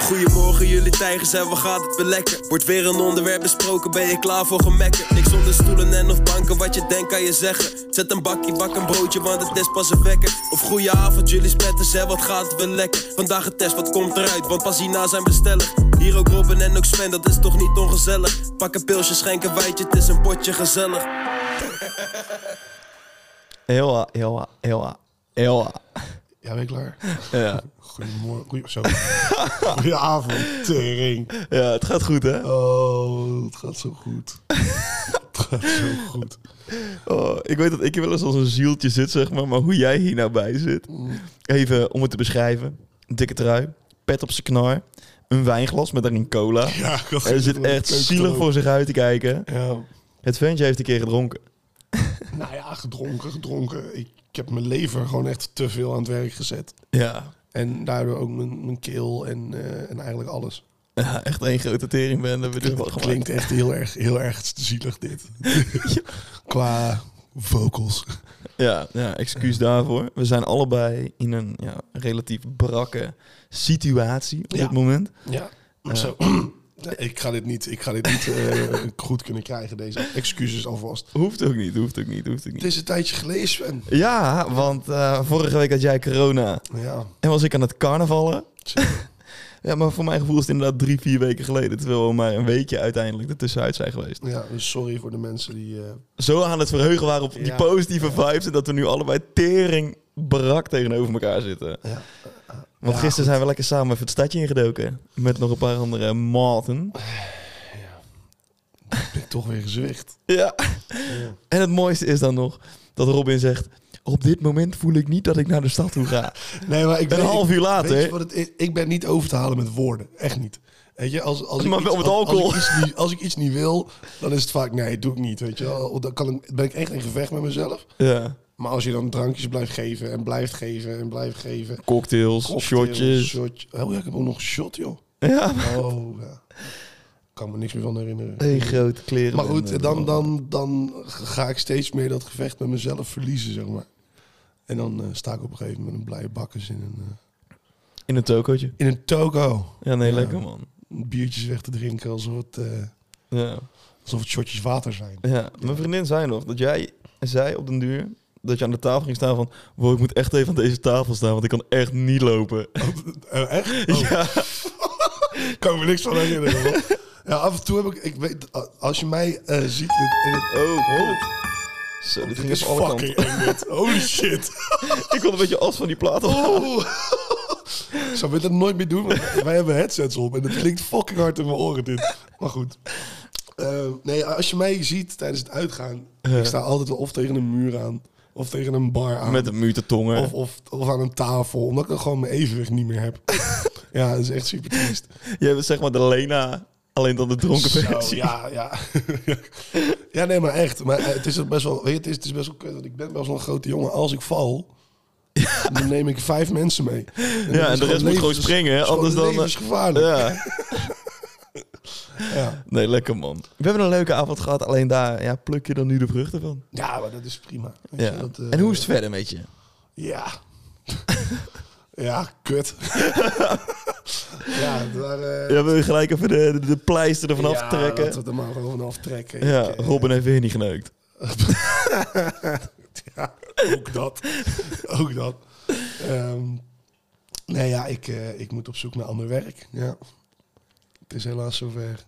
Goedemorgen jullie tijgers en wat gaat het weer lekker? Wordt weer een onderwerp besproken, ben je klaar voor gemekken? Niks onder stoelen en of banken, wat je denkt kan je zeggen Zet een bakje, bak een broodje, want het is pas een wekker Of goeie avond jullie spetters en wat gaat het weer lekker? Vandaag een test, wat komt eruit, want pas hierna zijn bestellig Hier ook Robin en ook Sven, dat is toch niet ongezellig? Pak een pilsje, schenk een wijntje, het is een potje gezellig Heel, ah, heel, ah, heel, ah, heel. ah. Ja, ben je klaar? Ja. Goedemorgen. Goeie, zo. Goedenavond, tering. ja, het gaat goed, hè? Oh, het gaat zo goed. Het gaat zo goed. Oh, ik weet dat ik hier wel eens als een zieltje zit, zeg maar. Maar hoe jij hier nou bij zit. Even om het te beschrijven. Een dikke trui, pet op zijn knar, een wijnglas met daarin cola. Ja, ik had Hij geen zit idee. echt Keuken zielig voor lopen. zich uit te kijken. Ja. Het ventje heeft een keer gedronken. Nou ja, gedronken, gedronken. Ik, ik heb mijn lever gewoon echt te veel aan het werk gezet. Ja. En daardoor ook mijn, mijn keel en, eh, en eigenlijk alles. Ja, echt één grote tering ben. Dat we dit wel Het klinkt echt heel erg, heel erg zielig dit. Qua vocals. Ja, ja, excuus daarvoor. We zijn allebei in een ja, relatief brakke situatie op Ja. dit moment. Ja. Zo. ik ga dit niet, ik ga dit niet eh, goed kunnen krijgen, deze excuses alvast. Hoeft ook niet, hoeft ook niet, hoeft ook Het niet. is een tijdje geleden, Sven. Ja, want eh, vorige week had jij corona Ja, en was ik aan het carnavallen. Zo. Ja, maar voor mijn gevoel is het inderdaad drie, vier weken geleden. Terwijl we maar een weekje uiteindelijk ertussenuit zijn geweest. ja dus sorry voor de mensen die... eh, Zo aan het verheugen waren op die Ja. positieve vibes. En dat we nu allebei tering brak tegenover elkaar zitten. ja. Want Ja, gisteren zijn we lekker samen even het stadje ingedoken. Met nog een paar andere maten. Ik ben toch weer gezwicht. Ja. En het mooiste is dan nog dat Robin zegt... Op dit moment voel ik niet dat ik naar de stad toe ga. Nee, maar ik Een weet- half uur later. Weet je wat het is? Ik ben niet over te halen met woorden. Echt niet. Weet je, als, als ik Maar iets, wel met als- alcohol. Als, ik iets niet, als ik iets niet wil, dan is het vaak nee, doe ik niet. Weet je, wel. dan kan ik, ben ik echt in gevecht met mezelf. Ja. Maar als je dan drankjes blijft geven en blijft geven en blijft geven. Cocktails, cocktails, shotjes. shot- oh ja, ik heb ook nog een shot, joh. Ja. Oh ja. Ik kan me niks meer van herinneren. Een grote kleren. eh, Maar goed, dan, dan, dan ga ik steeds meer dat gevecht met mezelf verliezen, zeg maar. En dan eh, sta ik op een gegeven moment met een blije bakkers in een, eh, In een tokootje. in een toko. Ja, nee, Ja. lekker man. Biertjes weg te drinken alsof het, eh, Ja. alsof het shotjes water zijn. ja. Mijn vriendin zei nog dat jij zei op den duur... dat je aan de tafel ging staan van... Wow, ik moet echt even aan deze tafel staan, want ik kan echt niet lopen. Eh, echt? Oh, Ja. kan me niks van herinneren. hoor. Ja, af en toe heb ik, ik weet, a- als je mij eh, ziet in het... Oh, god. Zo, dit Dit ging is even alle kanten. fucking eng, dit. Holy shit. Ik kon een beetje as van die plaat af. Oeh. Ik zou dit nooit meer doen, want wij hebben headsets op en het klinkt fucking hard in mijn oren dit. Maar goed. Eh, nee, als je mij ziet tijdens het uitgaan, ik sta altijd wel of tegen een muur aan, of tegen een bar aan, Met een muurtentongen. of, of, of aan een tafel, omdat ik dan gewoon mijn evenwicht niet meer heb. ja, dat is echt super triest. Jij bent zeg maar de Lena, alleen dan de dronken Zo, versie. ja, ja. ja, nee, maar echt. Maar eh, het is ook best wel, weet je, het is, het is best wel kut, want ik ben best wel een grote jongen. Als ik val, dan neem ik vijf mensen mee. Ja, en de rest moet gewoon levens- springen, hè, is gewoon anders dan, eh, levensgevaarlijk. Ja. Ja. Nee, lekker man. We hebben een leuke avond gehad, alleen daar ja, pluk je dan nu de vruchten van. Ja, maar dat is prima. Weet Ja. je, dat, eh, en hoe is het verder met je? Ja. ja, kut. ja, daar... eh, Ja, wil je gelijk even de, de, de pleister ervan ja, aftrekken? laten we het er maar gewoon aftrekken. Ja, Ik, eh, Robin heeft weer niet geneukt. ja, ook dat. ook dat. Ehm, nee, ja, ik, eh, ik moet op zoek naar ander werk. Ja. Het is helaas zover.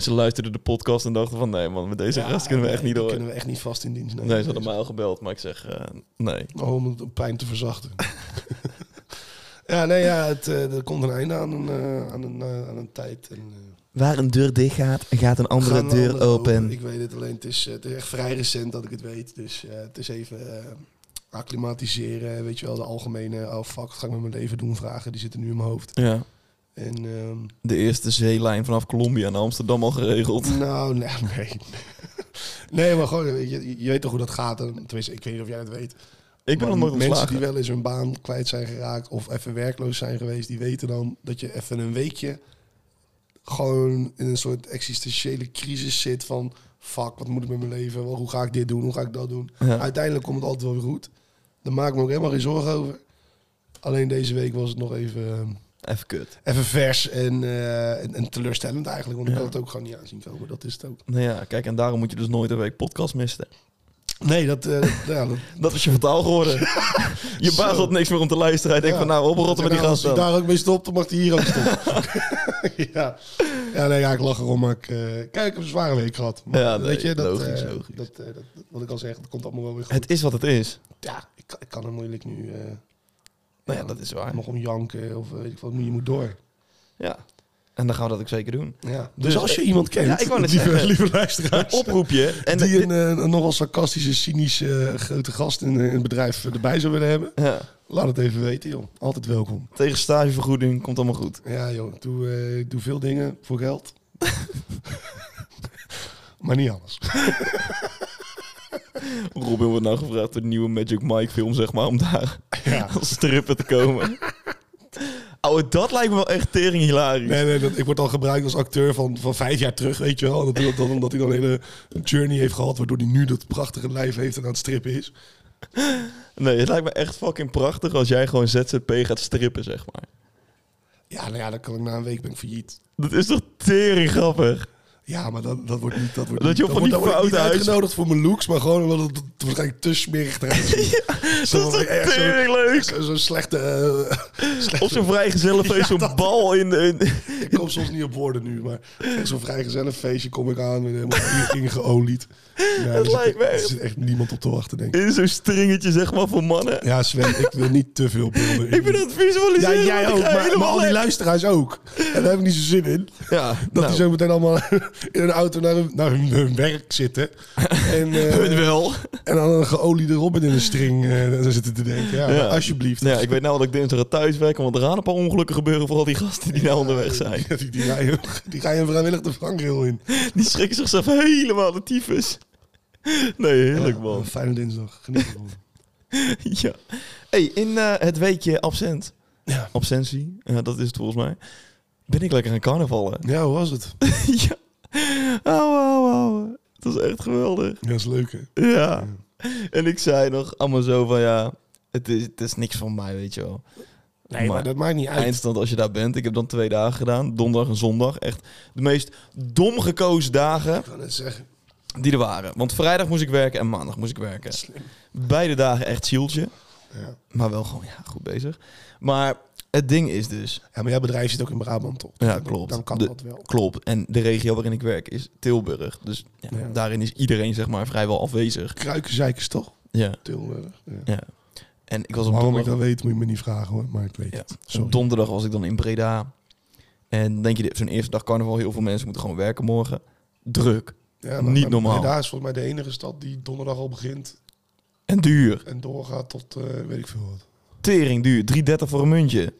Ze luisterden de podcast en dachten van... Nee man, met deze Ja, gast kunnen we nee, echt niet die door. kunnen we echt niet vast in dienst nemen. Nee, ze hadden mij al gebeld, maar ik zeg... eh, nee. Oh, om het pijn te verzachten. ja, nee, ja, het, eh, er komt een einde aan een, eh, aan een, eh, aan een tijd. En, eh, Waar een deur dicht gaat, gaat een gaan we andere Ik weet het, alleen het is, eh, het is echt vrij recent dat ik het weet. Dus eh, het is even eh, acclimatiseren, weet je wel, de algemene, oh fuck, wat ga ik met mijn leven doen, vragen, die zitten nu in mijn hoofd. Ja, En, ehm, de eerste zeelijn vanaf Colombia naar Amsterdam al geregeld. nou, nee, nee. nee, maar gewoon, weet je, je weet toch hoe dat gaat. En, Tenminste, ik weet niet of jij dat weet. Ik ben Maar nog nooit Mensen ontslagen. die wel eens hun baan kwijt zijn geraakt of even werkloos zijn geweest, die weten dan dat je even een weekje gewoon in een soort existentiële crisis zit van fuck, wat moet ik met mijn leven? Wel, Hoe ga ik dit doen? Hoe ga ik dat doen? Ja. Uiteindelijk komt het altijd wel weer goed. Daar maak ik me ook helemaal geen zorgen over. Alleen deze week was het nog even, eh, Even kut. even vers en, eh, en, en teleurstellend eigenlijk. Want ik kan het ook gewoon niet aanzien komen. Dat is het ook. Nou ja, kijk, en daarom moet je dus nooit een week podcast missen. Nee, dat... eh, dat- ja, dat Dat is je vertaal geworden. je baas Zo. had niks meer om te luisteren. Hij denkt Ja. van nou, oprotten met die Nou, als gast hij dan. daar ook mee stopt, dan mag hij hier ook stoppen. ja. ja, nee, ja, ik lach erom. Maar ik, eh, kijk, ik heb een zware week gehad. Maar Ja, nee, weet je, dat, logisch, eh, logisch. Dat, eh, dat- wat ik al zeg, dat komt allemaal wel weer goed. Het is wat het is. ja, ik, kan- ik kan er moeilijk nu eh, Nou ja, dat is waar. nog om janken of eh, weet ik wat. Je moet door. Ja. En dan gaan we dat ook zeker doen. Ja. Dus, Dus, als je eh, iemand kent, ja, ik wou net lieve, zeggen. lieve luisteraars, Oproepje. En die een, eh, een nogal sarcastische, cynische eh, grote gast in eh, een bedrijf erbij zou willen hebben, ja, laat het even weten, joh. Altijd welkom. tegen stagevergoeding komt allemaal goed. Ja, joh, ik doe, eh, ik doe veel dingen voor geld. maar niet alles. Robin wordt nou gevraagd voor de nieuwe Magic Mike film, zeg maar, om daar Ja. als stripper te komen. Ouwe, Oh, dat lijkt me wel echt tering hilarisch. Nee, nee, dat, ik word al gebruikt als acteur van, van vijf jaar terug, weet je wel. Dat, dat, dat- omdat hij dan een hele journey heeft gehad, waardoor hij nu dat prachtige lijf heeft en aan het strippen is. Nee, het lijkt me echt fucking prachtig als jij gewoon ZZP gaat strippen, zeg maar. Ja, nou ja, dan kan ik na een week ben ik failliet. Dat is toch tering grappig? Ja, maar dat, dat wordt niet... Dat, wordt Dat niet, je op van wordt- die word ik foute niet huis- uitgenodigd voor mijn looks, maar gewoon omdat het waarschijnlijk te smerig eruit ziet. Zo Dat is van, toch echt zo'n- tering leuk? Zo'n zo'n slechte... eh, slechte Op zo'n vrijgezellenfeest, zo'n bal in de... in- Ik kom soms niet op woorden nu, maar echt zo'n vrijgezellig feestje kom ik aan met helemaal ingeolied. Ja, er zit- lijkt me Er echt- zit echt niemand op te wachten, denk ik. in zo'n stringetje, zeg maar, voor mannen. Ja, Sven, ik wil niet te veel beelden. Ik ben aan het visualiseren. Ja, jij want ook, ik ga maar, maar helemaal al die lek. luisteraars ook. En daar heb ik niet zo zin in. Ja, Dat nou, die zo meteen allemaal in een auto naar hun, naar hun, hun werk zitten. En, eh, hun wel. en dan een geoliede Robin in een string eh, daar zitten te denken. Ja, Ja. alsjeblieft. Nou ja, ik weet nou dat ik dinsdag thuis werk, want er gaan een paar ongelukken gebeuren voor al die gasten die nou onderweg zijn. Die, die, ga je, die ga je vrijwillig de vangrail in. Die schrikken zichzelf helemaal de tyfus. Nee, heerlijk Ja, man. Fijne dinsdag. Geniet ervan. Ja. hey, in eh, het weekje absent. Ja. Absentie, eh, dat is het volgens mij. Ben ik lekker aan carnavallen. Ja, hoe was het? ja. Auw, auw, auw. Het was echt geweldig. Ja, is leuk hè? Ja. En ik zei nog allemaal zo van ja, het is, het is niks van mij, weet je wel. Nee, maar, dat maakt niet uit. eindstand als je daar bent. Ik heb dan twee dagen gedaan, donderdag en zondag. Echt de meest dom gekozen dagen Ik kan het zeggen. die er waren. Want vrijdag moest ik werken en maandag moest ik werken. Slim. Beide dagen echt zieltje, Ja. maar wel gewoon ja, goed bezig. Maar het ding is dus, ja, maar jouw bedrijf zit ook in Brabant, toch? ja Dan- klopt. Dan kan De- dat wel. Klopt. En de regio waarin ik werk is Tilburg. Dus ja, Ja. daarin is iedereen zeg maar vrijwel afwezig. Kruikenzeikers, toch? Ja. Tilburg. Ja. ja. En ik was op Waarom ik donderdag, dat weet, moet je me niet vragen hoor. Maar ik weet Ja. het. op Sorry. donderdag was ik dan in Breda. En dan denk je, zo'n eerste dag carnaval, heel veel mensen moeten gewoon werken morgen. Druk. Ja, niet normaal. Daar is volgens mij de enige stad die donderdag al begint En duur. en doorgaat tot eh, weet ik veel wat. Tering duur. 3,30 voor een muntje.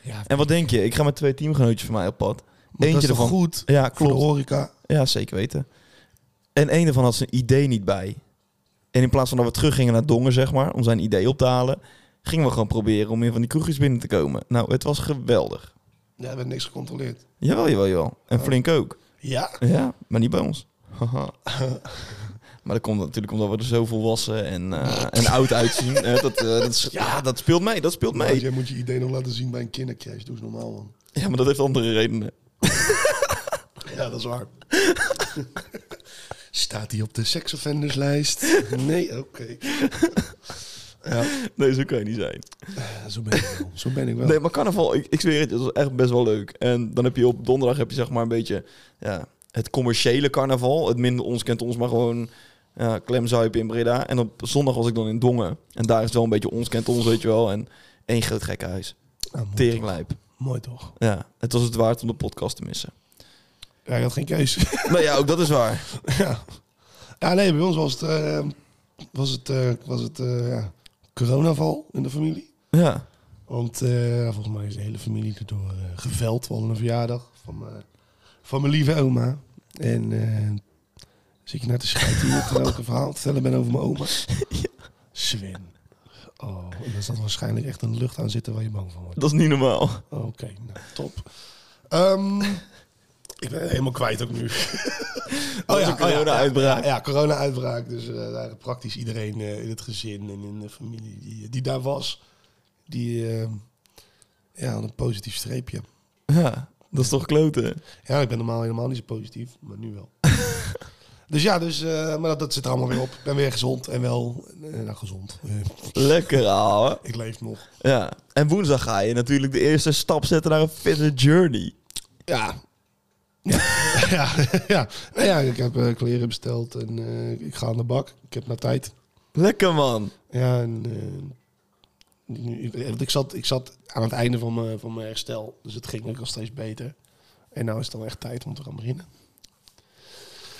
Ja, En wat denk je? Ik ga met twee teamgenootjes van mij op pad. dat is Eentje toch ervan. goed Ja, voor de klopt. horeca. Ja, zeker weten. En een ervan had zijn idee niet bij. En in plaats van dat we teruggingen naar Dongen, zeg maar, om zijn idee op te halen, gingen we gewoon proberen om in van die kroegjes binnen te komen. Nou, het was geweldig. Ja, we hebben niks gecontroleerd. Jawel, jawel, jawel. En flink ook. Ja. Ja, maar niet bij ons. Haha. maar dat komt natuurlijk omdat we er zo volwassen en, eh, en oud uitzien. Eh, dat, eh, dat is- ja, dat speelt mee, dat speelt Maar mee. jij moet je idee nog laten zien bij een kindercrash. Doe eens normaal man. Ja, maar dat heeft andere redenen. Ja, dat is waar. Staat hij op de seksoffenderslijst? Nee, oké. Ja, Nee, zo kan je niet zijn. zo ben ik wel. Zo ben ik wel. Nee, maar carnaval, ik, ik zweer het, het was echt best wel leuk. En dan heb je op donderdag heb je zeg maar een beetje ja, het commerciële carnaval. Het minder ons kent ons, maar gewoon ja, klemzuipen in Breda. En op zondag was ik dan in Dongen. En daar is het wel een beetje ons kent ons, weet je wel. En één groot gekke huis. Nou, mooi, toch? Teringlijp. mooi toch? Ja, het was het waard om de podcast te missen. Ja, je had geen keus. nou ja, ook dat is waar. ja. ja, nee, bij ons was het, eh, was het, eh, was het eh, ja, coronaval in de familie. Ja. Want eh, volgens mij is de hele familie erdoor eh geveld. We hadden een verjaardag van, mijn- van mijn lieve oma. En eh, zit je naar te schijten hier terwijl ik een verhaal te vertellen ben over mijn oma? Sven. Oh, en er zat waarschijnlijk echt een lucht aan Oh zitten waar je bang van wordt. Dat is niet normaal. Oké, nou, top. nou, Ehm, Ik ben helemaal kwijt ook nu. Dat is een corona-uitbraak. Ja, ja, corona-uitbraak. Dus eh, daar praktisch iedereen eh, in het gezin en in de familie die, die daar was, die eh, ja, had een positief streepje. Ja, dat is toch kloten? Ja, ik ben normaal helemaal niet zo positief, maar nu wel. dus ja, dus, eh, maar dat, dat zit er allemaal weer op. Ik ben weer gezond en wel eh, nou, gezond. Eh, Lekker, ouwe. ik leef nog. Ja. En woensdag ga je natuurlijk de eerste stap zetten naar een fitter journey. Ja. Ja, ja, ja. Nou ja, ik heb eh, kleren besteld en eh, ik ga aan de bak. Ik heb naar tijd. Lekker, man. Ja, en, eh, nu- want ik zat, ik zat aan het einde van mijn, van mijn herstel. Dus het ging ook al steeds beter. En nou is het dan echt tijd om te gaan beginnen.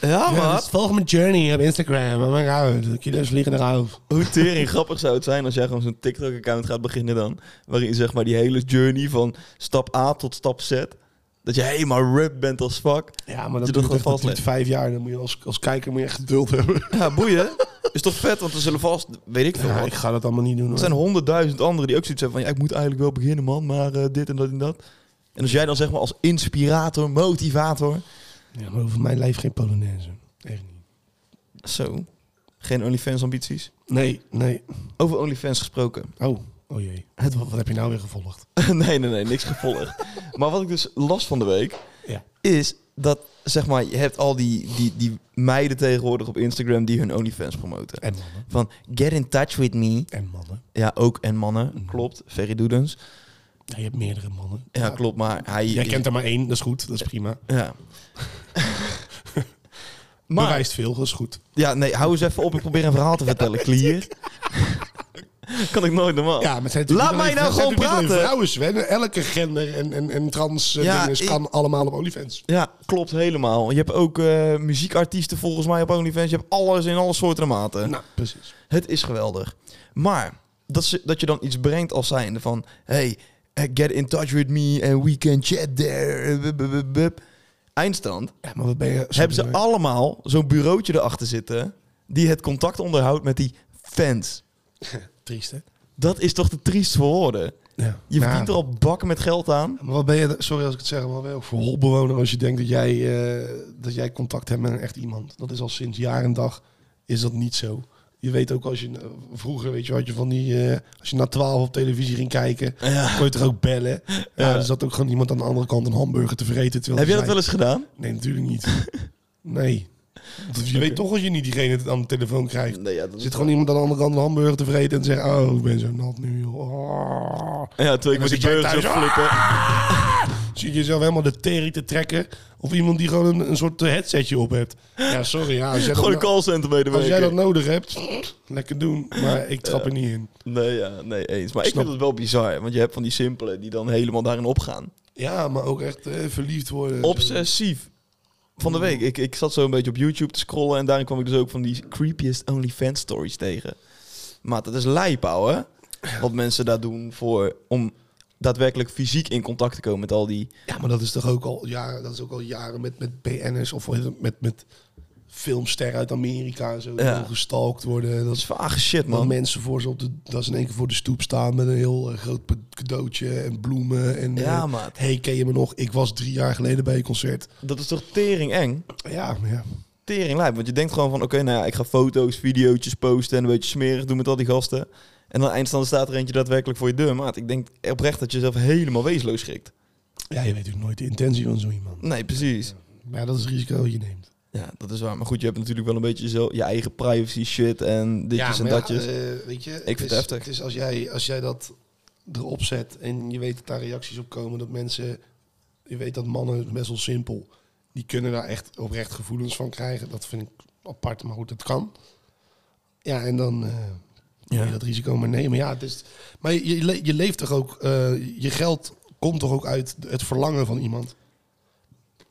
dus Ja, man. volg mijn journey op Instagram. Oh my god, kilo's vliegen eruit. dus Hoe tering grappig zou het zijn als jij gewoon zo'n TikTok-account gaat beginnen dan. Waarin je zeg maar die hele journey van stap A tot stap Z. Dat je helemaal rap bent als fuck. Ja, maar Je doet dat gewoon duurt echt- dat duurt vastleggen. vijf jaar. Dan moet je als, als kijker moet je echt geduld hebben. Ja, boeien. Is toch vet, want er zullen vast, weet ik veel Ja, wat. ik ga dat allemaal niet doen. Er hoor. zijn honderdduizend anderen die ook zoiets hebben van... Ja, ik moet eigenlijk wel beginnen, man, maar eh, dit en dat en dat. En als jij dan zeg maar als inspirator, motivator... Ja, maar over mijn lijf geen Polonaise. Echt niet. Zo, geen OnlyFans-ambities. Nee, nee. Over OnlyFans gesproken. Oh, oh jee. Het, wat, wat heb je nou weer gevolgd? nee, nee, nee, niks gevolgd. maar wat ik dus last van de week... Ja. is dat, zeg maar, je hebt al die, die, die meiden tegenwoordig op Instagram die hun OnlyFans promoten. En mannen. Van, get in touch with me. En mannen. Ja, ook en Mhm. mannen, klopt. Ferry Doedens. Ja, je hebt meerdere mannen. Ja, klopt, maar hij... Jij kent er maar één, dat is goed. Dat is prima. Ja. Maar... maar, Bewijst veel, dat is goed. ja, nee, hou eens even op. Ik probeer een verhaal te vertellen, klier. kan ik nooit normaal. Ja, maar het zijn Laat natuurlijk mij niet alleen- nou gewoon het zijn natuurlijk niet alleen praten. Vrouwen zwemmen, elke gender en, en, en trans eh, Ja, dinges ik- kan allemaal op OnlyFans. Ja, klopt helemaal. Je hebt ook eh, muziekartiesten volgens mij op OnlyFans. Je hebt alles in alle soorten en maten. Nou, precies. Het is geweldig. Maar dat, ze, dat je dan iets brengt als zijnde van... Hey, eh, get in touch with me and we can chat there. Bup, bup, bup, bup. Eindstand. Ja, maar wat ben je... hebben ze allemaal zo'n bureautje erachter zitten... die het contact onderhoudt met die fans. Triest, hè? Dat is toch te triest voor woorden? Ja. Je verdient er al bakken met geld aan. Maar wat ben je... Sorry als ik het zeg, maar wat ben je ook voor holbewoner als je denkt dat jij, eh, dat jij contact hebt met een echt iemand. Dat is al sinds jaar en dag is dat niet zo. Je weet ook als je... eh, Vroeger, weet je, had je van die... eh, als je na twaalf op televisie ging kijken, kon je toch ook bellen. Ja, Er zat ook gewoon iemand aan de andere kant een hamburger te vreten. terwijl Heb hij jij dat zei- wel eens gedaan? Nee, natuurlijk niet. Nee. Want je weet toch als je niet diegene het aan de telefoon krijgt. Nee, ja, Er zit gewoon iemand aan de andere kant een hamburger te vreten en zegt... Oh, ik ben zo nat nu, joh. Ah. Ja, terwijl ik met zit die jij burgers thuis, op flippen. Zie je jezelf helemaal de tering te trekken. Of iemand die gewoon een, een soort headsetje op hebt. Ja, sorry. Ja, als, jij dat, Gewoon een no- callcenter als jij dat medewerker. nodig hebt, lekker doen. Maar ik trap er niet in. Nee, ja, nee, eens. Maar ik Snap- vind het wel bizar. Want je hebt van die simpele die dan helemaal daarin opgaan. Ja, maar ook echt eh, verliefd worden. Obsessief. Van de week. Ik, ik zat zo een beetje op YouTube te scrollen. En daarin kwam ik dus ook van die creepiest OnlyFans stories tegen. Maar dat is lijp, ouwe. Wat mensen daar doen voor, om daadwerkelijk fysiek in contact te komen met al die... Ja, maar dat is toch ook al jaren, dat is ook al jaren met, met BN'ers of met, met filmsterren uit Amerika en zo. die Ja. gewoon gestalkt worden. Dat Dat is vage shit, Dat man. mensen voor ze op de, dat ze in één keer voor de stoep staan met een heel eh, groot pe- cadeautje en bloemen. En eh, Ja, maat. hey, ken je me nog? Ik was drie jaar geleden bij je concert. Dat is toch tering eng? Ja, ja. Tering lijp. Want je denkt gewoon van... Oké, nou ja, ik ga foto's, videootjes posten... en een beetje smerig doen met al die gasten. En dan eindstand staat er eentje daadwerkelijk voor je deur. Maat, ik denk oprecht dat je zelf helemaal weesloos schrikt. ja, je weet natuurlijk nooit de intentie van zo iemand. Nee, precies. Maar ja, dat is het risico dat je neemt. Ja, dat is waar. Maar goed, je hebt natuurlijk wel een beetje zo, je eigen privacy shit en ditjes en datjes. eh, weet je, vind het is, heftig. Het is als jij, als jij dat erop zet en je weet dat daar reacties op komen, dat mensen, je weet dat mannen best wel simpel, die kunnen daar echt oprecht gevoelens van krijgen. Dat vind ik apart, maar goed, het kan. Ja, en dan... eh, ja. dat risico maar nemen. Ja, het is, maar je, le- je leeft toch ook, eh, je geld komt toch ook uit het verlangen van iemand.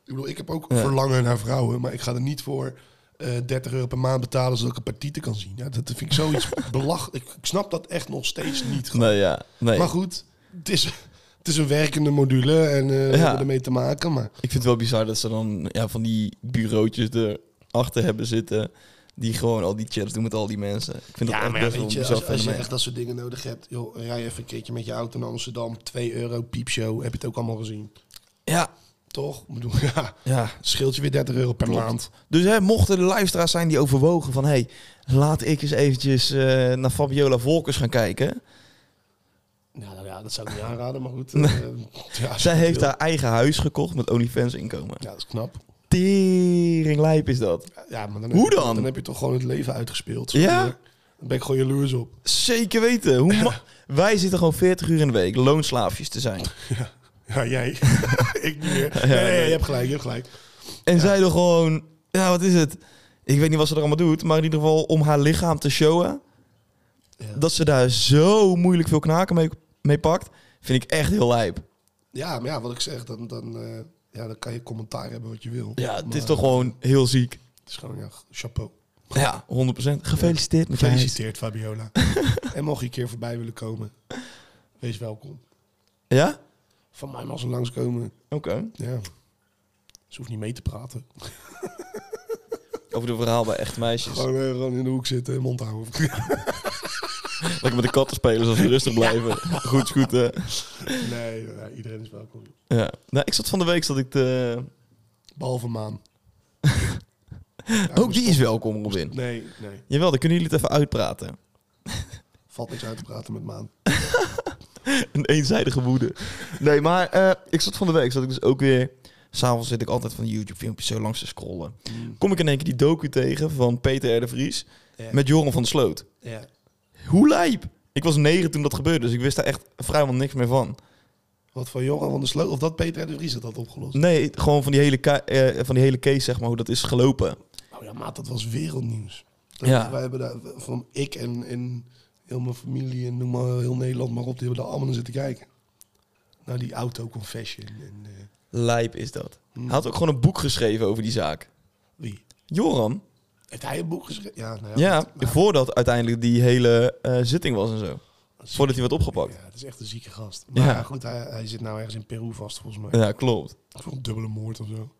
Ik bedoel, ik heb ook Ja. verlangen naar vrouwen, maar ik ga er niet voor eh 30 euro per maand betalen zodat ik een partieten kan zien. Ja, dat vind ik zoiets belachelijk. Ik, ik snap dat echt nog steeds niet. gewoon. Nee, ja. Nee. Maar goed, het is, het is een werkende module en eh we Ja. hebben ermee te maken. Maar Ik vind het wel bizar dat ze dan ja, van die bureautjes erachter hebben zitten. Die gewoon al die chats doen met al die mensen. Ik vind dat echt best wel weet een je, bizar als, als je fenomeen. echt dat soort dingen nodig hebt, joh, rij even een keertje met je auto naar Amsterdam, 2 euro, piepshow, heb je het ook allemaal gezien. Ja, Toch? Ik bedoel, ja, Ja. scheelt je weer 30 euro per Klopt. maand. Dus hè, mochten er luisteraars zijn die overwogen van... hey, laat ik eens eventjes eh, naar Fabiola Volkers gaan kijken. Nou, nou ja, dat zou ik niet aanraden, maar goed. Nee. eh, ja, als je Zij dat heeft wil. haar eigen huis gekocht met OnlyFans inkomen. Ja, dat is knap. Teringlijp is dat. Ja, maar dan Hoe heb je- dan? Dan heb je toch gewoon het leven uitgespeeld. Ja? Dan ben ik gewoon jaloers op. Zeker weten. Hoe ma- Wij zitten gewoon 40 uur in de week loonslaafjes te zijn. Ja, jij. ik niet meer. Nee, nee, nee, je hebt gelijk, je hebt gelijk. En zij er gewoon... Ja, wat is het? Ik weet niet wat ze er allemaal doet, maar in ieder geval om haar lichaam te showen... Ja. dat ze daar zo moeilijk veel knaken mee, mee pakt, vind ik echt heel lijp. Ja, maar ja, wat ik zeg, dan, dan, eh, ja, dan kan je commentaar hebben wat je wil. Ja, het is Maar toch gewoon heel ziek. Het is gewoon, ja, chapeau. Ja, 100%. Gefeliciteerd met je huis. Gefeliciteerd, Fabiola. en mocht je een keer voorbij willen komen, wees welkom. Ja? Van mij mag ze langskomen. Oké. Ja. Ze hoeft niet mee te praten. Over de verhaal bij echt meisjes. Gewoon, eh, gewoon in de hoek zitten en mond houden. Lekker met de katten spelen, zoals ze rustig blijven. Goed, goed. hè. nee, nee, iedereen is welkom. Ja. Nou, ik zat van de week, zat ik te... Behalve Maan. Ook die is welkom, Robin. Nee, nee. Jawel, dan kunnen jullie het even uitpraten. Valt niks uit te praten met Maan. Een eenzijdige woede. Nee, maar eh, ik zat van de week, zat ik dus ook weer... S'avonds zit ik altijd van YouTube-filmpjes zo langs te scrollen. Kom ik in één keer die docu tegen van Peter R. de Vries... Ja. met Joran van der Sloot. Ja. Hoe lijp! Ik was negen toen dat gebeurde, dus ik wist daar echt vrijwel niks meer van. Wat van Joran van der Sloot, of dat Peter R. de Vries dat had opgelost. Nee, gewoon van die hele, ka- eh, van die hele case, zeg maar, hoe dat is gelopen. Nou ja, maat, dat was wereldnieuws. Ja. Wij hebben daar, eh, van ik en, en heel mijn familie en noem maar heel Nederland maar op, die hebben daar allemaal naar zitten kijken. Naar die auto-confession en eh, Lijp is dat. Hij had ook gewoon een boek geschreven over die zaak. wie. Joran? Heeft hij een boek geschreven? Ja, nou ja. Ja, goed, maar- voordat uiteindelijk die hele eh, zitting was en zo. dat is- Voordat hij werd opgepakt. Ja, het is echt een zieke gast. Maar Ja. goed, hij, hij zit nou ergens in Peru vast volgens mij. Ja, klopt. Voor een dubbele moord of zo.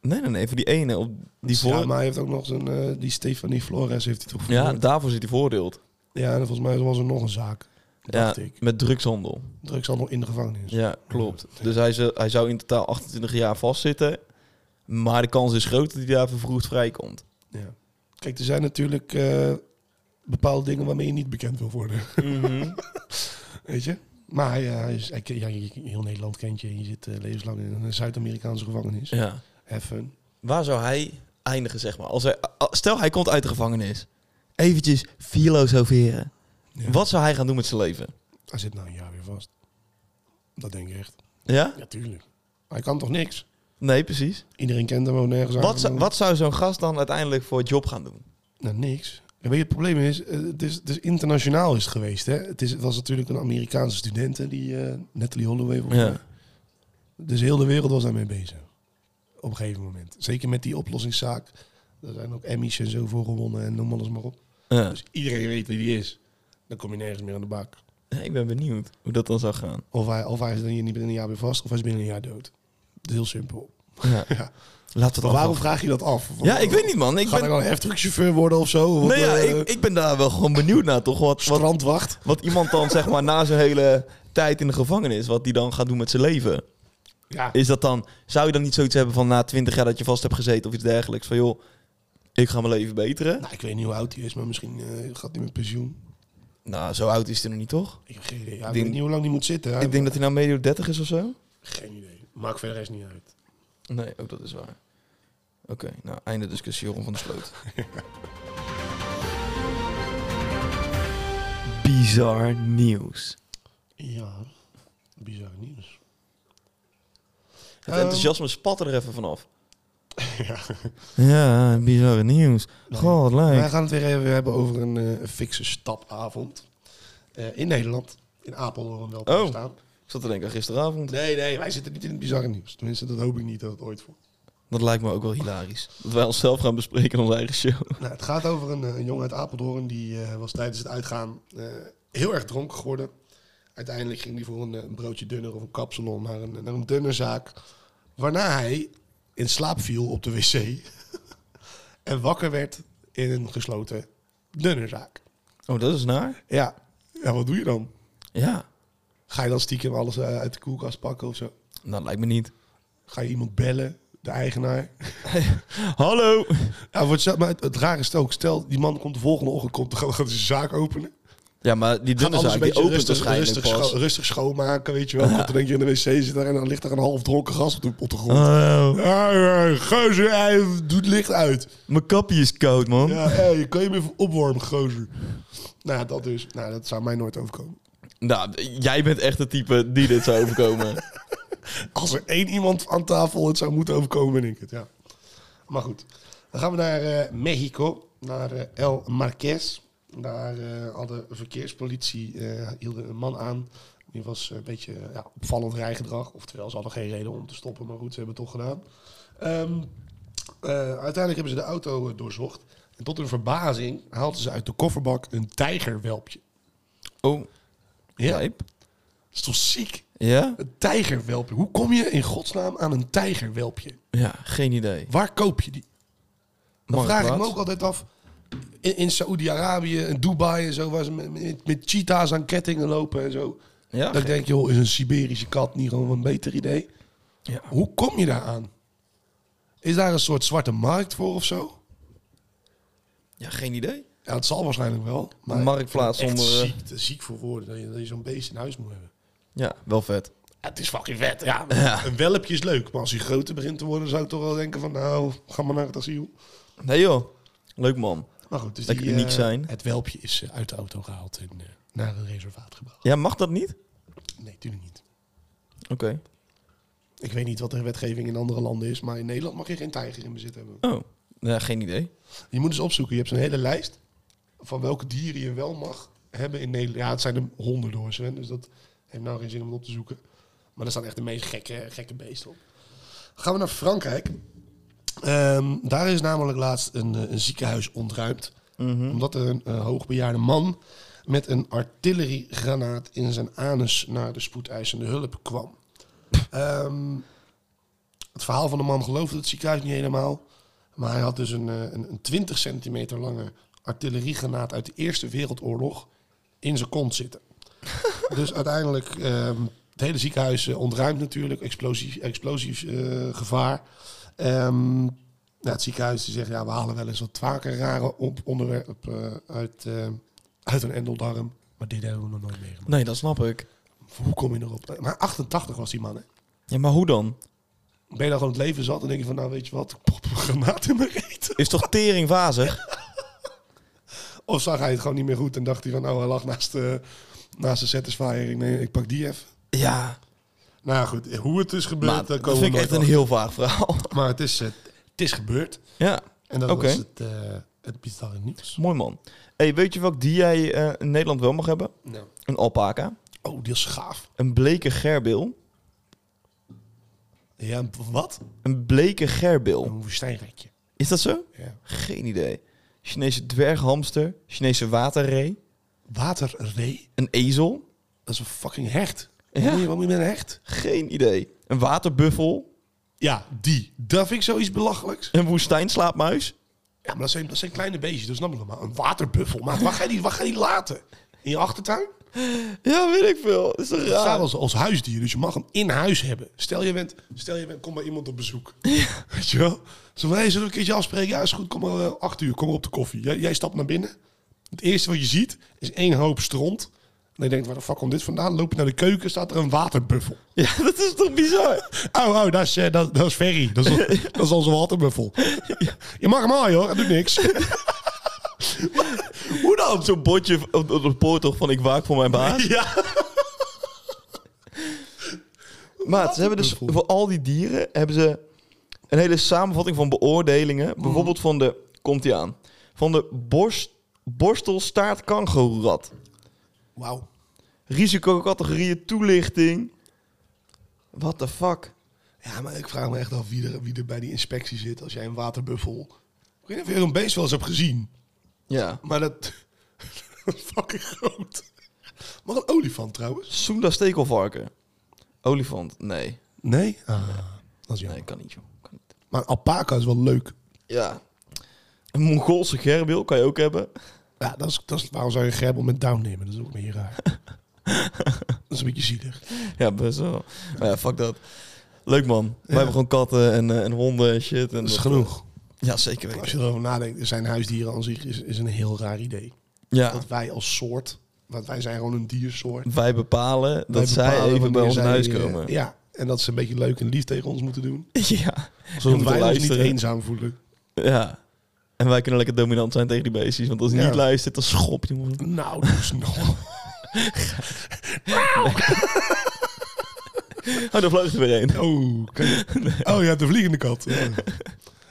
Nee, nee, nee, voor die ene. Op die Ja, voor... maar hij heeft ook nog zijn, eh, die Stefanie Flores heeft hij toch Ja, vermoord. daarvoor zit hij veroordeeld. Ja, en volgens mij was er nog een zaak, Ja, dacht ik. met drugshandel. Drugshandel in de gevangenis. Ja, klopt. Dus hij, zou- hij zou in totaal 28 jaar vastzitten. Maar de kans is groot dat hij daar vervroegd vrijkomt. Ja. Kijk, er zijn natuurlijk eh, bepaalde dingen waarmee je niet bekend wil worden. Mhm. Weet je? Maar hij, eh, hij is, hij, ken- ja, je- heel Nederland kent je en je zit eh, levenslang in een Zuid-Amerikaanse gevangenis. Ja. Have fun. Waar zou hij eindigen, zeg maar? Als hij, a- a- stel, hij komt uit de gevangenis. Eventjes filosoferen. Ja. Wat zou hij gaan doen met zijn leven? Hij zit nou een jaar weer vast. Dat denk ik echt. Ja? Ja, tuurlijk. Hij kan toch niks? Nee, precies. Iedereen kent hem ook nergens Wat, zou- aan. wat zou zo'n gast dan uiteindelijk voor job gaan doen? Nou, niks. En weet je, het probleem is, eh, het is, het is internationaal is het geweest. Hè? Het, is, het was natuurlijk een Amerikaanse student, hè, die eh Natalie Holloway. volgens Ja. mij. Dus heel de wereld was daarmee bezig. Op een gegeven moment. Zeker met die oplossingszaak. Er zijn ook Emmys en zo voor gewonnen en noem alles maar op. Ja. Dus iedereen weet wie die is. Dan kom je nergens meer aan de bak. Ik ben benieuwd hoe dat dan zou gaan. Of hij, of hij is dan hier niet binnen een jaar weer vast, of hij is binnen een jaar dood. Dat is heel simpel. Ja. Laten Ja. we Maar het waarom waarom... vraag je dat af? Ja, ik weet niet, man. Ik Gaat hij ben, dan een heftruckchauffeur worden of zo? Of nee, ja, eh, ik, ik ben daar wel gewoon benieuwd naar, toch? Wat, wat, strandwacht? Wat iemand dan, zeg maar, na zijn hele tijd in de gevangenis, wat die dan gaat doen met zijn leven. Ja. Is dat dan, zou je dan niet zoiets hebben van na 20 jaar dat je vast hebt gezeten of iets dergelijks? Van joh, ik ga mijn leven beteren. Nou, ik weet niet hoe oud hij is, maar misschien eh, gaat hij met pensioen. Nou, zo oud is hij nog niet, toch? Ik heb geen idee. Ja, ik denk- weet niet hoe lang hij moet zitten. Hij- Ik denk dat hij nou medio 30 is of zo. Geen idee. Maakt verder eens niet uit. Nee, ook dat is waar. Oké, nou, einde discussie, Joram van de Sloot. Bizar nieuws. Ja, bizar nieuws. Het Ehm, enthousiasme spat er even vanaf. ja. Ja, bizar nieuws. Goh, wat leuk. Wij gaan het weer even hebben over een eh, een fikse stapavond. Eh, in Nederland. In Apeldoorn wel te Oh. staan. Ik zat te denken, gisteravond. Nee, nee, wij zitten niet in het bizarre nieuws. Tenminste, dat hoop ik niet dat het ooit voor. Dat lijkt me ook wel hilarisch. Dat wij onszelf gaan bespreken in onze eigen show. Nou, het gaat over een, eh, een jongen uit Apeldoorn. Die eh, was tijdens het uitgaan eh, heel erg dronken geworden. Uiteindelijk ging hij voor een, eh, een broodje dunner of een kapsalon naar een, naar een dunnerzaak. Waarna hij in slaap viel op de wc. en wakker werd in een gesloten dunnerzaak. Oh, dat is naar? Ja. ja, wat doe je dan? Ja. Ga je dan stiekem alles eh, uit de koelkast pakken of zo? Nou, dat lijkt me niet. Ga je iemand bellen, de eigenaar. Hallo! Ja, wordt zo- maar het, het rare is ook, stel die man komt de volgende ochtend, komt, dan gaat hij zijn zaak openen. Ja, maar die Gaat dunne alles een zaak, die beetje opent rustig, waarschijnlijk rustig, pas. scho- rustig schoonmaken, weet je wel. Komt er denk je in de wc zit daar en dan ligt daar een half dronken gast op de, op de grond. Oh, Ja, ja, gozer, hij doet licht uit. mijn kappie is koud, man. Ja, hé, je kan je me even opwarmen, gozer. Nou, ja, dat dus. Nou, dat zou mij nooit overkomen. Nou, jij bent echt het type die dit zou overkomen. Als er één iemand aan tafel het zou moeten overkomen, ben ik het, ja. Maar goed. Dan gaan we naar eh, Mexico, naar eh, El Marquez. Daar eh, had de verkeerspolitie eh, hielde een man aan. Die was een beetje eh, ja, opvallend rijgedrag. Oftewel, ze hadden geen reden om te stoppen, maar goed, ze hebben het toch gedaan. Ehm, eh, uiteindelijk hebben ze de auto eh, doorzocht. En tot hun verbazing haalden ze uit de kofferbak een tijgerwelpje. Oh, Ja, dat lijp. is toch ziek? Ja? Een tijgerwelpje. Hoe kom je in godsnaam aan een tijgerwelpje? Ja, geen idee. Waar koop je die? Dan vraag ik me Marktplaats? ook altijd af. In, in Saoedi-Arabië en Dubai en zo, waar ze met, met, met cheetahs aan kettingen lopen en zo. Ja, Dan denk je, joh, is een Siberische kat niet gewoon een beter idee? Ja. Hoe kom je daar aan? Is daar een soort zwarte markt voor of zo? ja, geen idee. Ja, het zal waarschijnlijk wel. Een marktplaats echt zonder, eh, ziek, te ziek voor woorden dat je, dat je zo'n beest in huis moet hebben. Ja, wel vet. Ja, het is fucking vet. Ja, Een welpje is leuk, maar als hij groter begint te worden, zou ik toch wel denken van, nou, ga maar naar het asiel. Nee joh, leuk man. Maar goed, dus Lekker die, uniek eh, zijn. Het welpje is eh, uit de auto gehaald en eh, naar een reservaat gebracht. Ja, mag dat niet? Nee, natuurlijk niet. Oké. Ik weet niet wat de wetgeving in andere landen is, maar in Nederland mag je geen tijger in bezit hebben. Oh, ja, geen idee. Je moet eens opzoeken. Je hebt zo'n hele lijst van welke dieren je wel mag hebben in Nederland. Ja, het zijn er honderden hoor, Sven, dus dat heeft nou geen zin om het op te zoeken. Maar daar staan echt de meest gekke, gekke beesten op. Gaan we naar Frankrijk. Ehm, daar is namelijk laatst een, eh, een ziekenhuis ontruimd. Omdat er een eh, hoogbejaarde man met een artilleriegranaat in zijn anus naar de spoedeisende hulp kwam. Ehm, het verhaal van de man geloofde het ziekenhuis niet helemaal. Maar hij had dus een, eh, een, een 20 centimeter lange artilleriegranaat uit de Eerste Wereldoorlog in zijn kont zitten. dus uiteindelijk, ehm, het hele ziekenhuis eh, ontruimd natuurlijk, explosief, explosief eh, gevaar. Ehm, nou, het ziekenhuis die zegt, ja, we halen wel eens wat vaker rare op onderwerp eh, uit, eh, uit een endeldarm. Maar dit hebben we nog nooit meegemaakt. Nee, dat snap ik. Hoe kom je erop? Eh, Maar 88 was die man, hè? Ja, maar hoe dan? Ben je dan gewoon het leven zat en denk je van, nou weet je wat, ik pop een granaat in mijn reet. Is toch teringvazig? Of zag hij het gewoon niet meer goed en dacht hij van, oh, hij lag naast, de naast de Satisfyer. Ik, nee, ik pak die even. Ja, Nou ja, goed, hoe het is gebeurd, maar daar dat komen vind ik we echt een nooit heel vaag verhaal. achter. Maar het is, eh, het is gebeurd. Ja, En dat Oké. was het, eh het bizarre nieuws. mooi man. hey, weet je wat die jij eh, in Nederland wel mag hebben? Nou. Een alpaca, Oh, die is gaaf. een bleke gerbil. Ja, wat? Een bleke gerbil. Een woestijnrekje. Is dat zo? Ja. Geen idee. Chinese dwerghamster, Chinese waterree, Waterree? een ezel. Dat is een fucking hecht. Ja. Wat, moet je, wat moet je met een hecht? Geen idee. Een waterbuffel, Ja, die. Dat vind ik zoiets belachelijks. een woestijnslaapmuis. Ja, maar dat zijn, dat zijn kleine beestjes, dat snap ik nog maar. Een waterbuffel, maar waar ga je die, waar ga je die laten? In je achtertuin? Ja, weet ik veel. Dat is toch Het staat raar? als, als huisdier, dus je mag hem in huis hebben. Stel je bent, stel je bent kom bij iemand op bezoek. Weet je wel? Zo van, hey, zullen we een keertje afspreken? Ja, is goed, kom maar eh, acht uur, kom maar op de koffie. Jij, jij stapt naar binnen. Het eerste wat je ziet is één hoop stront. En je denkt, waar de fuck komt dit vandaan? Loop je naar de keuken, staat er een waterbuffel. Ja, dat is toch bizar? Oh, oh, dat is, eh, dat, dat is Ferry. Dat is, dat is onze waterbuffel. Je mag hem haaien hoor, dat doet niks. Hoe dan? Zo'n bordje op, op de poort toch van ik waak voor mijn baas. Ja. Maar ze hebben dus voor al die dieren hebben ze een hele samenvatting van beoordelingen. Bijvoorbeeld van de, komt die aan, van de borst, borstelstaart kangoeroerat. Wauw. Risicocategorieën, toelichting. What the fuck? Ja, maar ik vraag me echt af wie er, wie er bij die inspectie zit als jij een waterbuffel... Ik weet niet of je een beest wel eens hebt gezien. Ja. Maar dat... dat is fucking groot. Maar een olifant trouwens? Soenda stekelvarken. Olifant, nee. Nee? Ah, dat is jammer. Nee, kan niet joh. Kan niet. Maar een alpaca is wel leuk. Ja. Een Mongoolse gerbil kan je ook hebben. Ja, dat is, dat is, waarom zou je een gerbel met down nemen? Dat is ook meer raar. dat is een beetje zielig. Ja, best wel. Maar ja, fuck dat. Leuk man. Wij hebben gewoon katten en, eh, en honden en shit. En Dat is dat- genoeg. Ja, zeker Als weten. je erover nadenkt, zijn huisdieren aan zich is, is een heel raar idee. Ja. Dat wij als soort, want wij zijn gewoon een diersoort. Wij bepalen dat Wij zij bepalen even bij wanneer ons in zij, huis eh, komen. ja, en dat ze een beetje leuk en lief tegen ons moeten doen. Ja. Zodat moeten wij ons luisteren. niet eenzaam voelen. ja. En wij kunnen lekker dominant zijn tegen die beestjes. Want als hij Ja. niet luistert, dan schop je hem. Nou, dus nog. Oh, daar vloog er weer een. Oh, kan je- oh ja, de vliegende kat. Oh. Ja.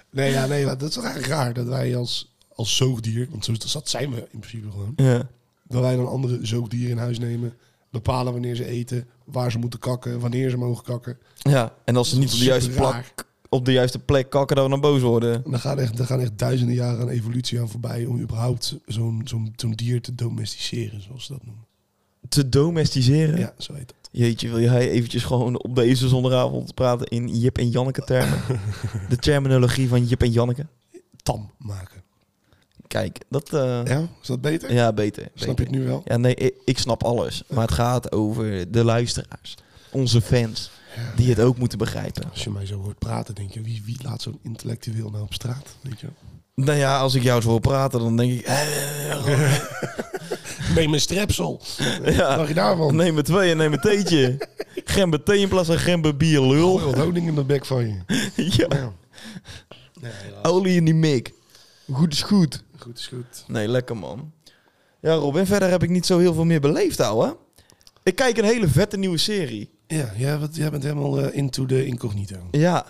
Nee, ja, nee, maar dat is toch eigenlijk raar dat wij als, als zoogdier, want zo, dat zijn we in principe gewoon, Ja. dat wij dan andere zoogdieren in huis nemen, bepalen wanneer ze eten, waar ze moeten kakken, wanneer ze mogen kakken. ja. En als ze niet op de, juiste Super plak, raar. op de juiste plek kakken, dan dan boos worden. En Daar gaan, echt, daar gaan echt duizenden jaren aan evolutie aan voorbij om überhaupt zo'n zo'n zo'n dier te domesticeren, zoals ze dat noemen. Te domesticeren. Ja, zo heet dat. Jeetje, wil jij eventjes gewoon op deze zondagavond praten in Jip en Janneke termen? de terminologie van Jip en Janneke. Tam maken. Kijk, dat... eh, ja, Ja, is dat beter? beter. beter. Snap je het nu wel? Ja, nee, ik, ik snap alles. Maar het gaat over de luisteraars. Onze fans. Die het ook moeten begrijpen. Als je mij zo hoort praten, denk je, wie, wie laat zo'n intellectueel nou op straat? Weet je? wel? Nou ja, als ik jou zo hoor praten, dan denk ik... eh, Neem een strepsel. Ja. Mag je daarvan? Neem er twee en neem een theetje. Gember thee in plaats van gember bier, lul. Gooi wat honing in de bek van je. ja. Ja. Olie in die mik. Goed is goed. Goed is goed. Nee, lekker man. Ja, Robin, verder heb ik niet zo heel veel meer beleefd, ouwe. Ik kijk een hele vette nieuwe serie. Ja, jij, bent- jij bent helemaal eh, into de incognito. Ja,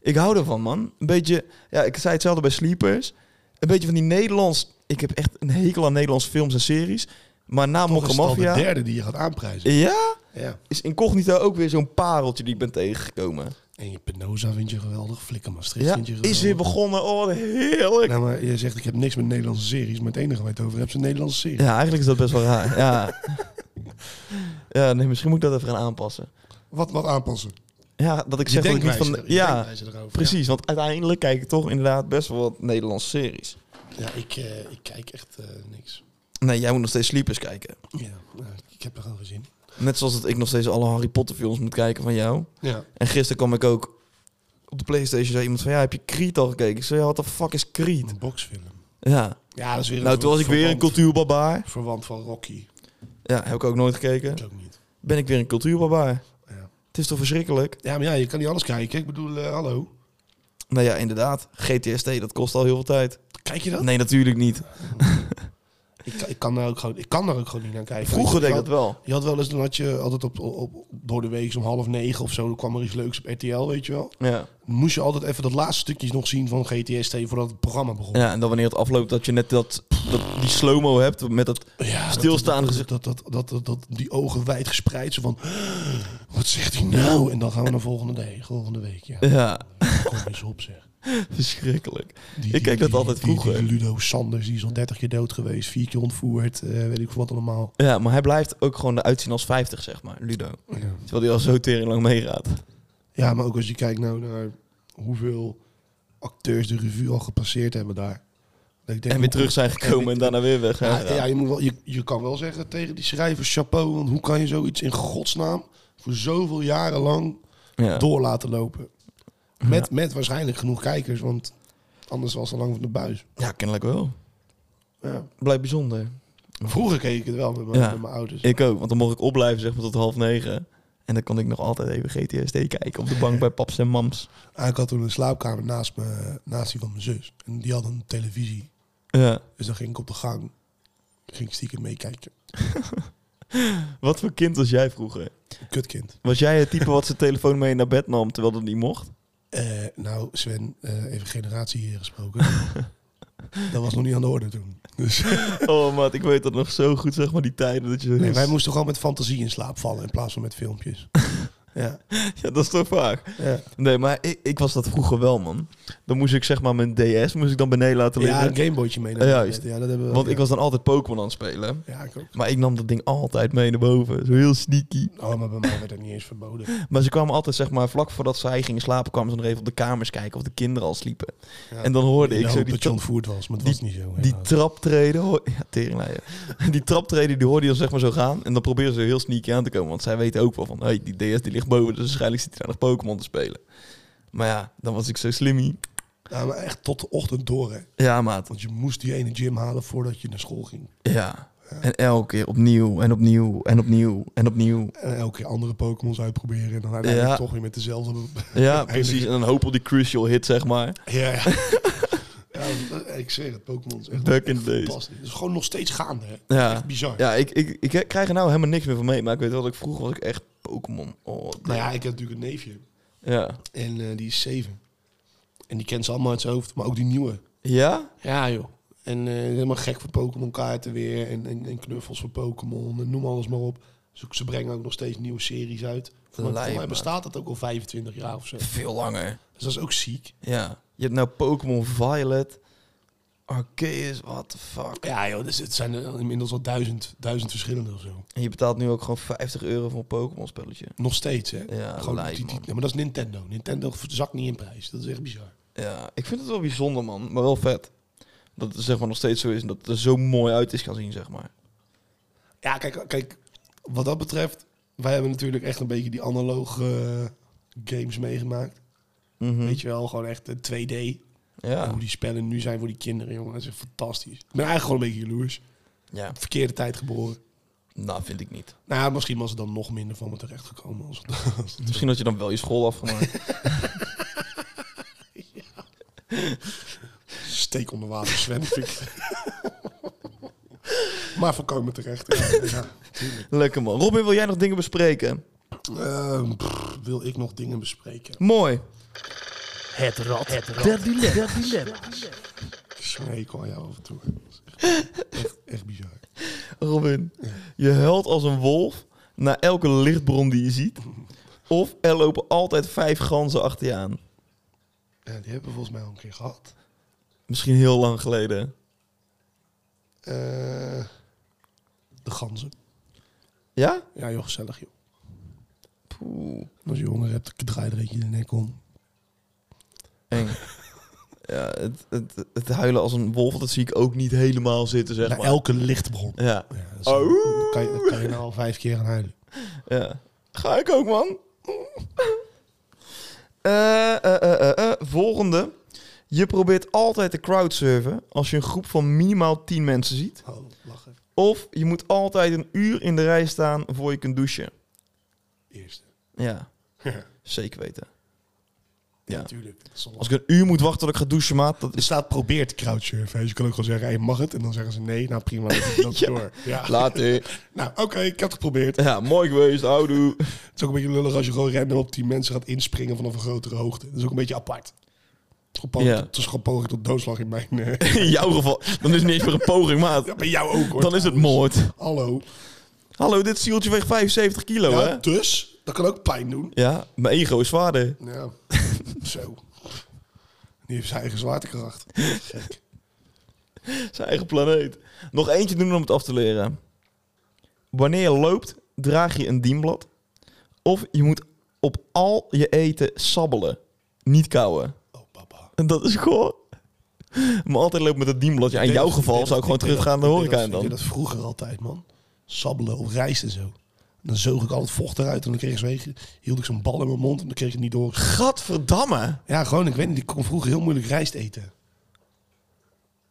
ik hou ervan, man. Een beetje, ja, ik zei hetzelfde bij Sleepers. Een beetje van die Nederlands. Ik heb echt een hekel aan Nederlandse films en series. Maar na Toch is Mokka het al de Mafia. derde die je gaat aanprijzen. Ja, Ja. is incognito ook weer zo'n pareltje die ik ben tegengekomen. En je Penosa vind je geweldig. Flikker Maastricht Ja, vind je geweldig. is weer begonnen. Oh, wat heerlijk. Nou, maar je zegt, ik heb niks met Nederlandse series. Maar het enige waar je het over hebt, is een Nederlandse serie. Ja, eigenlijk is dat best wel raar. Ja, ja nee, misschien moet ik dat even gaan aanpassen. Wat, wat aanpassen? Ja, dat ik zeg dat ik niet van. er- je Ja, denkwijze erover. precies. Want uiteindelijk kijk ik toch inderdaad best wel wat Nederlandse series. Ja, Ja, ik, eh, ik kijk echt eh, niks. Nee, jij moet nog steeds Sleepers kijken. Ja, nou, ik heb er gewoon gezien. Net zoals dat ik nog steeds alle Harry Potter films moet kijken van jou. Ja. En gisteren kwam ik ook op de Playstation zei iemand van... Ja, heb je Creed al gekeken? Ik zei, ja, what the fuck is Creed? Een boxfilm. Ja. Ja, dat is weer Nou, een toen was ik weer een verwant- cultuurbarbaar. Verwant van Rocky. Ja, heb ik ook nooit gekeken. Dat ook niet. Ben ik weer een cultuurbarbaar. Ja. Het is toch verschrikkelijk? Ja, maar ja, je kan niet alles kijken. Ik bedoel, eh, hallo. Nou ja, inderdaad. GTSD, dat kost al heel veel tijd. Kijk je dat? Nee, natuurlijk niet. Ik, kan- ik, kan daar ook gewoon, ik kan daar ook gewoon niet naar kijken. Vroeger deed je ik had, dat wel. Je had wel eens, dan had je altijd op, op, op- door de week om half negen of zo, dan kwam er iets leuks op RTL, weet je wel. Ja. Dan moest je altijd even dat laatste stukje nog zien van GTST voordat het programma begon. ja, en dan wanneer het afloopt dat je net dat, dat die slow-mo hebt met dat... Ja, Stilstaan Dat, dat, dat, dat, dat, dat- die ogen wijd gespreid, zo van, wat zegt hij nou? En dan gaan we naar volgende dag, volgende week, ja. Ja, Kom eens op, zeg. verschrikkelijk. Die- die- Ik keek dat die- altijd die- die vroeger. Ludo Sanders, die is al 30 keer dood geweest, vier keer ontvoerd, eh, weet ik veel wat allemaal. Ja, maar hij blijft ook gewoon eruit zien als 50, zeg maar, Ludo. Ja. Terwijl hij al zo tering lang meegaat. Ja, maar ook als je kijkt nou naar hoeveel acteurs de revue al gepasseerd hebben daar. Dat ik denk, En weer hoe- terug zijn gekomen en daarna weer weg. Ja, ja, je, moet wel, je, je kan wel zeggen tegen die schrijvers chapeau, want hoe kan je zoiets in godsnaam voor zoveel jaren lang Ja. door laten lopen? Met, met waarschijnlijk genoeg kijkers, want anders was het al lang van de buis. Ja, kennelijk wel. Ja. Blijft bijzonder. Vroeger keek ik het wel met mijn, Ja. met mijn ouders. Ik ook, want dan mocht ik opblijven zeg maar tot half negen. En dan kon ik nog altijd even GTSD kijken op de bank bij paps en mams. Ah, ik had toen een slaapkamer naast, me, naast die van mijn zus. En die had een televisie. Ja. Dus dan ging ik op de gang. Ging ik stiekem meekijken. Wat voor kind was jij vroeger? Kutkind. Was jij het type wat zijn telefoon mee naar bed nam terwijl dat niet mocht? Eh, nou, Sven, eh, even generatie hier gesproken. dat was nog niet aan de orde toen. Dus, Oh maat, ik weet dat nog zo goed zeg maar die tijden dat je... nee, wij moesten gewoon met fantasie in slaap vallen in plaats van met filmpjes. ja, Ja, dat is toch vaak. ja. Nee, maar ik, ik was dat vroeger wel man. Dan moest ik zeg maar mijn DS moest ik dan beneden laten liggen. ja een Gameboytje mee. naar Ja, bed. juist. Ja, dat hebben we, Want ja. ik was dan altijd Pokémon aan het spelen. Ja, ik ook. Maar ik nam dat ding altijd mee naar boven. Zo heel sneaky. Oh, maar bij mij werd dat niet eens verboden. Maar ze kwamen altijd, zeg maar, vlak voordat zij gingen slapen, kwamen ze nog even op de kamers kijken of de kinderen al sliepen. Ja. En dan hoorde In ik de zo hoop die, dat je tra ontvoerd was, maar dat was niet zo. die helaas. traptreden. hoor- Ja, teringleier. Die traptreden, die hoorde je dan zeg maar zo gaan. En dan proberen ze heel sneaky aan te komen. Want zij weten ook wel van, hey, die DS die ligt echt boven. Dus waarschijnlijk zit hij daar nog Pokémon te spelen. Maar ja, dan was ik zo slimmy. Ja, Nou, maar echt tot de ochtend door, hè. Ja, maat. Want je moest die ene gym halen voordat je naar school ging. Ja. En elke keer opnieuw en opnieuw en opnieuw en opnieuw. En elke keer andere Pokémon's uitproberen. En dan uiteindelijk Ja. toch weer met dezelfde... Ja, precies. En dan hoop op die crucial hit, zeg maar. Ja, ja. ja, ik zeg het, Pokémon is echt Back in the days. fantastisch. Het is gewoon nog steeds gaande, hè. Ja, Echt bizar. ja ik, ik, ik krijg er nou helemaal niks meer van mee. Maar ik weet wel dat ik vroeger was ik echt Pokémon. Oh, Nou ja, ik heb natuurlijk een neefje. ja. En eh, die is zeven. En die kent ze allemaal uit zijn hoofd, maar ook die nieuwe. Ja? Ja, joh. En eh, helemaal gek voor Pokémon kaarten weer. En, en, en knuffels voor Pokémon. En noem alles maar op. Ze, ze brengen ook nog steeds nieuwe series uit. Voor mij, Lijp, voor mij man. bestaat dat ook al 25 jaar of zo. Veel langer. Dus dat is ook ziek. Ja. Je hebt nou Pokémon Violet. Arceus, what the fuck. Ja, joh. Dus het zijn er inmiddels al duizend, duizend verschillende of zo. En je betaalt nu ook gewoon 50 euro voor een Pokémon spelletje. Nog steeds, hè? Ja, Gewoon lijp, die- die- man. ja, maar dat is Nintendo. Nintendo zakt niet in prijs. Dat is echt bizar. Ja, ik vind het wel bijzonder, man. Maar wel vet. Dat het zeg maar nog steeds zo is en dat het er zo mooi uit is gaan zien, zeg maar. Ja, kijk, kijk, wat dat betreft, wij hebben natuurlijk echt een beetje die analoge eh, games meegemaakt. Weet je wel, gewoon echt eh, 2D. En Mhm. Hm. Ja. hoe die spellen nu zijn voor die kinderen, jongen, dat is echt fantastisch. Ik ben eigenlijk gewoon een beetje jaloers. Ja. Verkeerde tijd geboren. Nou, vind ik niet. Nou ja, misschien was er dan nog minder van me terechtgekomen. Als het, als het- Misschien had je dan wel je school afgemaakt. steek onder water zwemmen. vind ik. maar voorkomen terecht. Ja, ja. Lekker, man. Robin, wil jij nog dingen bespreken? Ehm, pff, wil ik nog dingen bespreken? Mooi. Het rad. Het rad. Der dilemma. Zo'n hekel aan jou af en toe. Dat is echt- echt, echt bizar. Robin, je huilt als een wolf naar elke lichtbron die je ziet. Of er lopen altijd vijf ganzen achter je aan. Ja, die hebben we volgens mij al een keer gehad. Misschien heel lang geleden. Eh, de ganzen. Ja? Ja, joh, gezellig, joh. Poeh. Als je honger hebt, draai er eentje de nek om. Eng. Ja, het, het, het huilen als een wolf, dat zie ik ook niet helemaal zitten, zeg Naar maar. elke lichtbron. Ja. Ja, dat is- Oh. dan kan, je, dan kan je nou al vijf keer gaan huilen. ja. Ga ik ook, man. Eh, eh, eh, eh, eh. Volgende. Je probeert altijd te crowdsurfen als je een groep van minimaal 10 mensen ziet. Oh, lachen. Of je moet altijd een uur in de rij staan voor je kunt douchen. Eerste. Ja, Ja, zeker weten. Ja. natuurlijk. Als ik een uur moet wachten tot ik ga douchen, maat, dat Er is... staat probeert crowdsurfen. Dus je kan ook gewoon zeggen, hey, mag het? En dan zeggen ze nee. Nou prima, dan doe ik dat Ja. door. Ja. Later. Nou, oké, ik heb het geprobeerd. Ja, mooi geweest, houdoe. Het is ook een beetje lullig als je gewoon random op die mensen gaat inspringen vanaf een grotere hoogte. Dat is ook een beetje apart. Het is gewoon poging Ja. tot- het is gewoon poging tot doodslag in mijn... eh, In jouw geval, dan is het niet eens meer een poging, maat. Ja, bij jou ook hoor. Dan is het trouwens. moord. Hallo. Hallo, dit zieltje weegt 75 kilo, Ja, hè? dus, dat kan ook pijn doen. Ja, mijn ego is zwaarder. Ja, zo. Die heeft zijn eigen zwaartekracht. Gek. Zijn eigen planeet. Nog eentje doen om het af te leren. Wanneer je loopt, draag je een dienblad. Of je moet op al je eten sabbelen. Niet kauwen. Oh, papa. En dat is gewoon... Maar altijd lopen met het dienblad. Ja, in jouw geval zou ik gewoon teruggaan naar de horeca en Ik deed dan. dat vroeger altijd, man. Sabbelen op rijst en zo. En dan zoog ik al het vocht eruit en dan kreeg ik zweeg, hield ik zo'n bal in mijn mond en dan kreeg ik het niet door. Gadverdamme. Ja, gewoon, ik weet niet, ik kon vroeger heel moeilijk rijst eten.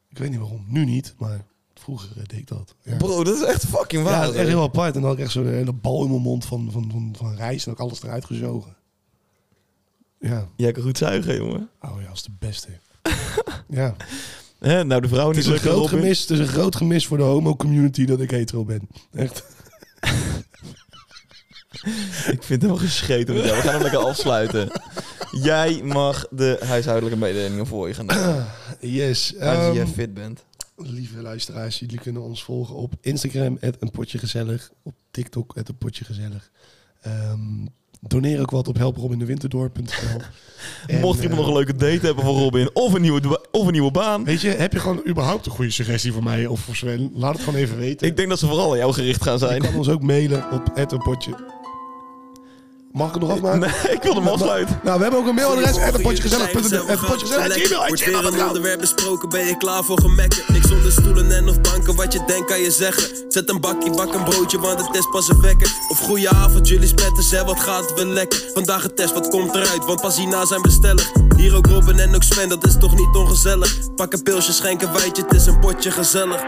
Ik weet niet waarom, nu niet, maar vroeger eh, deed ik dat. Ja. Bro, eh. dat is echt fucking Ja, waar. dat is echt heel apart. En dan had ik echt zo'n hele bal in mijn mond van, van, van, van rijst en ook alles eruit gezogen. Ja, Jij kan goed zuigen, jongen. oh ja, als de beste. ja, Hè, nou, de vrouw het niet is, een lukken, groot Robin. gemis, het is een groot gemis voor de homo-community dat ik hetero ben. Echt. Ik vind hem wel gescheten met jou. We gaan hem lekker afsluiten. Jij mag de huishoudelijke mededelingen voor je gaan doen. Yes. Als ehm, je fit bent. lieve luisteraars, jullie kunnen ons volgen op Instagram, een potje gezellig. Op TikTok, een potje gezellig. Ehm, doneer ook wat op helprobindeWinterdoor.nl. En, Mocht iemand eh, nog een leuke date hebben voor Robin, of een nieuwe, dwa- of een nieuwe baan. Weet je, heb je gewoon überhaupt een goede suggestie voor mij of voor Sven? Laat het gewoon even weten. Ik denk dat ze vooral aan jou gericht gaan Je zijn. kan ons ook mailen op @eenpotje. Mag ik het nog afmaken? Nee, ik wil hem afsluiten. Nou, we hebben ook een mailadres. En een potje gezellig. Tijgen zijn we Een potje gaan gezellig. te Gmail. lekker. at Wordt weer een gmail.com. onderwerp besproken, ben je klaar voor gemekken? Niks onder stoelen en of banken, wat je denkt kan je zeggen. Zet een bakje, bak een broodje, want het is pas een wekker. Of goeie avond, jullie spetters, hè, wat gaat het wel lekker? Vandaag een test, wat komt eruit, want pas hierna zijn bestellig. Hier ook Robin en ook Sven, dat is toch niet ongezellig? Pak een pilsje, schenk een wijtje, het is een potje gezellig.